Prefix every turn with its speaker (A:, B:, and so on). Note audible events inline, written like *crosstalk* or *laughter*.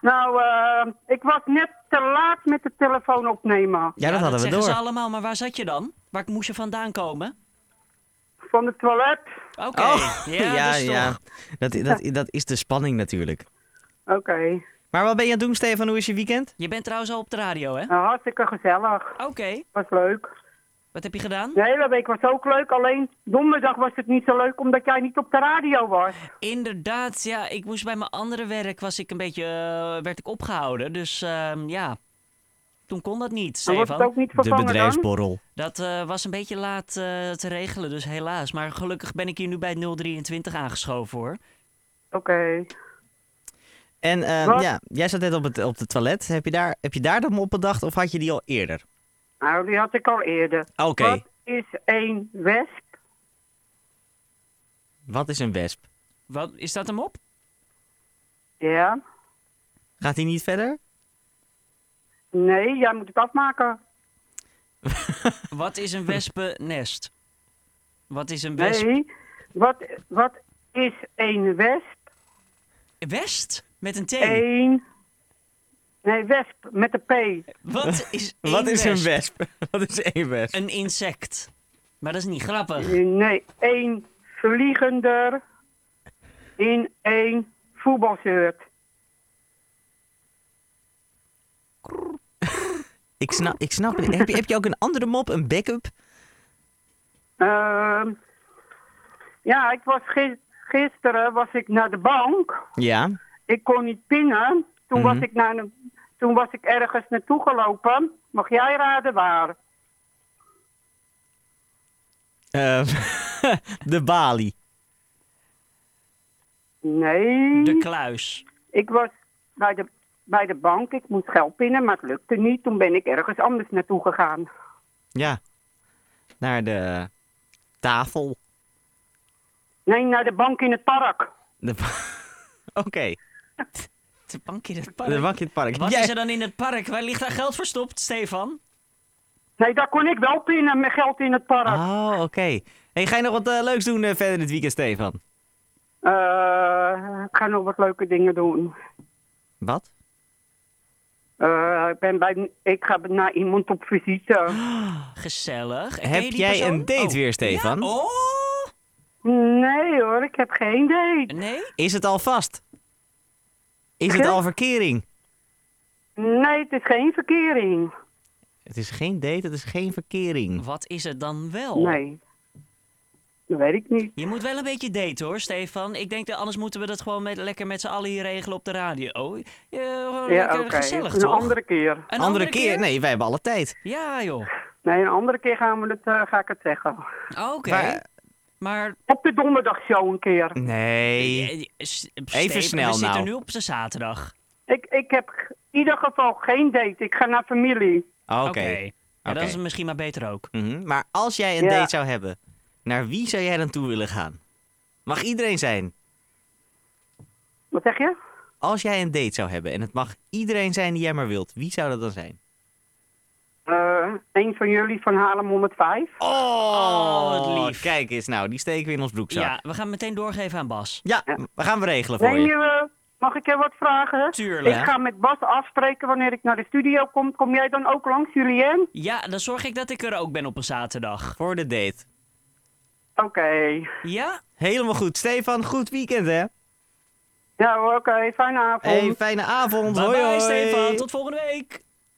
A: Nou, eh, ik was net te laat met de telefoon opnemen.
B: Ja, dat hadden we
C: zeggen
B: door.
C: ze allemaal, maar waar zat je dan? Waar moest je vandaan komen?
A: Van het toilet.
B: *laughs*
C: Oké,
B: Oh,
C: ja,
B: ja,
C: dus toch.
B: ja. Dat, dat, dat is de spanning natuurlijk.
A: Oké.
B: Maar wat ben je aan het doen, Stefan? Hoe is je weekend?
C: Je bent trouwens al op de radio, hè?
A: Nou, hartstikke gezellig.
C: Oké,
A: Was leuk.
C: wat heb je gedaan?
A: De hele week was ook leuk. Alleen donderdag was het niet zo leuk omdat jij niet op de radio was.
C: Inderdaad, ja, ik moest bij mijn andere werk, was ik een beetje, eh, werd ik opgehouden. Dus ehm, ja, toen kon dat niet,
A: Dan wordt het
C: Stefan.
A: ook niet
B: De
A: vervangen dan.
B: bedrijfsborrel.
C: Dat eh, was een beetje laat eh, te regelen, dus helaas. Maar gelukkig ben ik hier nu bij 023 aangeschoven, hoor.
A: Oké.
B: En eh,
A: Wat?
B: ja, jij zat net op het, op het toilet. Heb je, daar, heb je daar dan op bedacht of had je die al eerder?
A: Nou, die had ik al eerder.
B: Ah, Oké,
A: Wat is een wesp?
B: wat is een wesp?
C: Wat, is dat hem op?
A: Ja.
B: Gaat hij niet verder?
A: Nee, jij moet het afmaken.
C: Wat is een wespennest? Wat is een wesp?
A: Nee. Wat, wat is een wesp?
C: West? Met een T?
A: Een... Nee, wesp met een P.
C: Wat
B: *laughs*
C: is een
B: Wat is een wesp? *laughs* Wat is een wesp?
C: Een insect. Maar dat is niet grappig.
A: Nee, een vliegender in een voetbalshirt.
B: Ik snap, ik snap het. Heb je, heb je ook een andere mop, een backup?
A: Ehm, ja, ik was gis- gisteren was ik naar de bank.
B: Ja.
A: Ik kon niet pinnen. Toen, was, ik naar een- toen was ik ergens naartoe gelopen. Mag jij raden waar?
B: Ehm, *laughs* de balie.
A: Nee.
C: De kluis.
A: Ik was bij de, bij de bank. Ik moest geld pinnen, maar het lukte niet. Toen ben ik ergens anders naartoe gegaan.
B: Ja. Naar de tafel.
A: Nee, naar de bank in het park.
B: De... ba- *laughs* Oké,
C: De bank in het
B: de
C: park.
B: bank in het park.
C: Wat
B: Jij-
C: is er dan in het park? Waar ligt daar geld verstopt, Stefan?
A: Nee, daar kon ik wel pinnen met geld in het park.
B: Oh, oké. Hey, ga je nog wat eh, leuks doen eh, verder dit weekend, Stefan?
A: Eh, ik ga nog wat leuke dingen doen.
B: Wat?
A: Eh, ik, ben bij, ik ga naar iemand op visite.
C: Gezellig. En ken
B: Heb
C: je die
B: jij
C: persoon?
B: een date
C: Oh.
B: weer, Stefan?
C: Ja? Oh!
A: Nee hoor, ik heb geen date.
C: Nee?
B: Is het al vast? Is het
A: Huh?
B: al verkering?
A: Nee, het is geen verkering.
B: Het is geen date, het is geen verkering.
C: Wat is het dan wel?
A: Nee. Dat weet ik niet.
C: Je moet wel een beetje daten hoor, Stefan. Ik denk dat anders moeten we dat gewoon met, lekker met z'n allen hier regelen op de radio. Oh, ja,
A: Ja,
C: lekker
A: oké.
C: gezellig
A: Een
C: toch?
A: andere keer.
C: Een
B: andere keer? Nee, wij hebben alle tijd.
C: Ja joh.
A: Nee, een andere keer gaan we het, eh, ga ik het zeggen.
C: Oké.
B: Maar-
C: Maar
A: Op de donderdagshow een keer.
B: Nee.
C: Eh, eh, s-
B: Even snel
C: We zitten
B: nou.
C: nu op de zaterdag.
A: Ik, ik heb g- in ieder geval geen date. Ik ga naar familie.
B: Oké.
C: Ja,
B: Oké.
C: dat is misschien maar beter ook.
B: Mhm. Maar als jij een
A: Ja.
B: date zou hebben, naar wie zou jij dan toe willen gaan? Mag iedereen zijn.
A: Wat zeg je?
B: Als jij een date zou hebben en het mag iedereen zijn die jij maar wilt, wie zou dat dan zijn?
A: Eh een van jullie van Haarlem 105.
B: Oh,
C: wat lief.
B: Kijk eens nou, die steken we in ons broekzak.
C: Ja, we gaan meteen doorgeven aan Bas.
B: Ja, we gaan we regelen voor
A: Nee,
B: je.
A: eh, mag ik je wat vragen?
C: Tuurlijk.
A: Ik ga met Bas afspreken wanneer ik naar de studio kom. Kom jij dan ook langs, Julien?
C: Ja, dan zorg ik dat ik er ook ben op een zaterdag.
B: Voor de date.
A: Oké.
C: Ja?
B: Helemaal goed. Stefan, goed weekend hè.
A: Ja, oké. Fijne avond.
B: Hey, fijne avond.
C: Bye
B: hoi,
C: bye
B: hoi.
C: Stefan, tot volgende week.